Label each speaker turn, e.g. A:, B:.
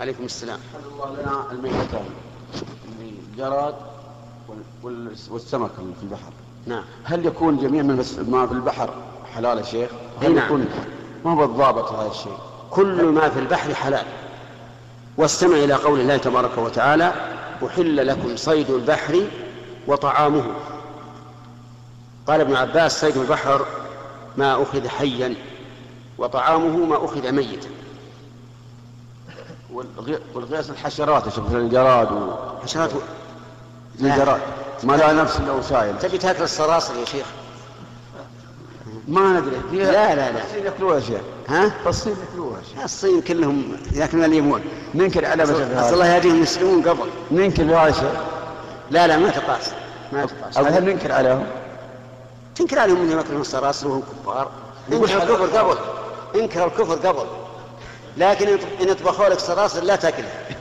A: عليكم السلام حفظ الله لنا الميتان
B: الجراد وال- والسمك اللي في البحر
A: نعم
B: هل يكون جميع من بس- ما في البحر حلال يا شيخ؟
A: أي
B: هل
A: نعم.
B: يكون ما هو الضابط هذا الشيء؟
A: كل ما في البحر حلال واستمع إلى قول الله تبارك وتعالى أحل لكم صيد البحر وطعامه قال ابن عباس صيد البحر ما أخذ حيا وطعامه ما أخذ ميتا
B: والغي- والغياس الحشرات يا شيخ مثل الجراد و...
A: حشرات لا.
B: الجراد ما لها نفس الا وسائل
A: تبي تاكل الصراصر يا شيخ
B: ما ندري فيها-
A: لا، لا، لا.
B: الصين ياكلوها يا شيخ
A: ها
B: الصين ياكلوها يا شيخ
A: الصين كلهم ياكلون اليمون
B: ننكر على
A: أصل الله يهديهم يسلمون قبل
B: ننكر هذا يا شيخ
A: لا لا ما تقاس ما تقاس
B: هل ننكر عليهم؟
A: تنكر عليهم انهم ياكلون الصراصر وهم كفار
B: نقول
A: انكر الكفر قبل انكر الكفر قبل لكن إن يطبخوا لك صراصر لا تاكلها